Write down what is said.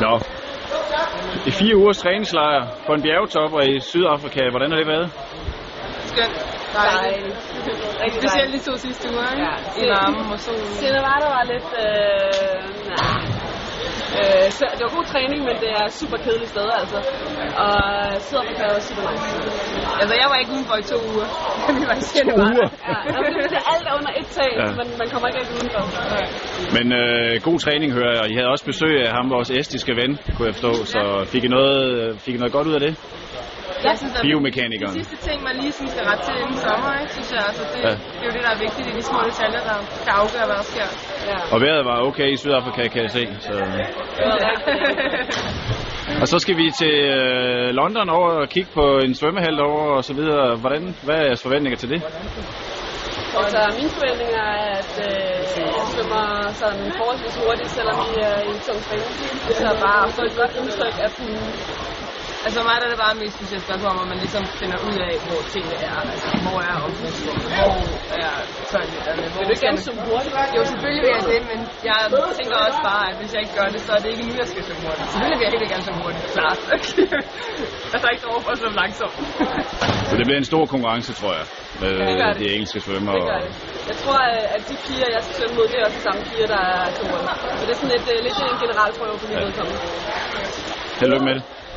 Nå. I fire ugers træningslejr på en bjergetopper i Sydafrika. Hvordan har det været? Skønt. Dejligt. Rigtig Specielt dejligt. de to sidste uger, ikke? Ja. I varmen og solen. Til det var, der var lidt... Øh, nej. Øh, så det var god træning, men det er super kedeligt sted, altså. Og Sydafrika er super nice. Altså, jeg var ikke udenfor i to uger. Vi var i To Sjælland. uger. Ja, altså, det er alt er under et tag, Ja. ja. man, man kommer ikke rigtig udenfor. Men øh, god træning, hører jeg. I havde også besøg af ham, vores estiske ven, kunne jeg forstå. Så fik I noget, fik I noget godt ud af det? Jeg synes, at de Biomekanikeren. sidste ting, man lige sådan skal rette til inden sommer, ikke, synes jeg, altså, det, Ja. det er jo det, der er vigtigt. Det er de små detaljer, der kan afgøre, hvad der sker. Ja. Og vejret var okay i Sydafrika, kan jeg se. Så. øh. Det var rigtig, rigtig godt. Og så skal vi til øh, London over og kigge på en svømmehal over og så videre. Hvordan, hvad er jeres forventninger til det? Altså, mine forventninger er, at øh, jeg svømmer sådan forholdsvis hurtigt, selvom vi er i tung træning. Så bare at få et godt indtryk af poolen. altså, for mig der er det bare mest specielt spørgsmål, om at man ligesom finder ud af, hvor tingene er. Altså, hvor er omklædningsrummet? Hvor er toiletterne? Hvor Vil du ikke skal gerne man- svømme hurtigt? Jo, selvfølgelig vil jeg det, men jeg tænker også bare, at hvis jeg ikke gør det, så er det ikke nu, jeg skal så hurtigt. Selvfølgelig vil jeg helt gerne så hurtigt. Klart. altså ikke over for at svømme langsomt. Så det bliver en stor konkurrence, tror jeg. det gør Øh, det. de engelske svømmer. Det gør Og... det. Jeg tror, øh, at de piger, jeg skal svømme mod, det er også de samme piger, der er til rundt. Så det er sådan lidt, øh, lidt en generalprøve på mit Ja. vedkommende. Held og lykke med det.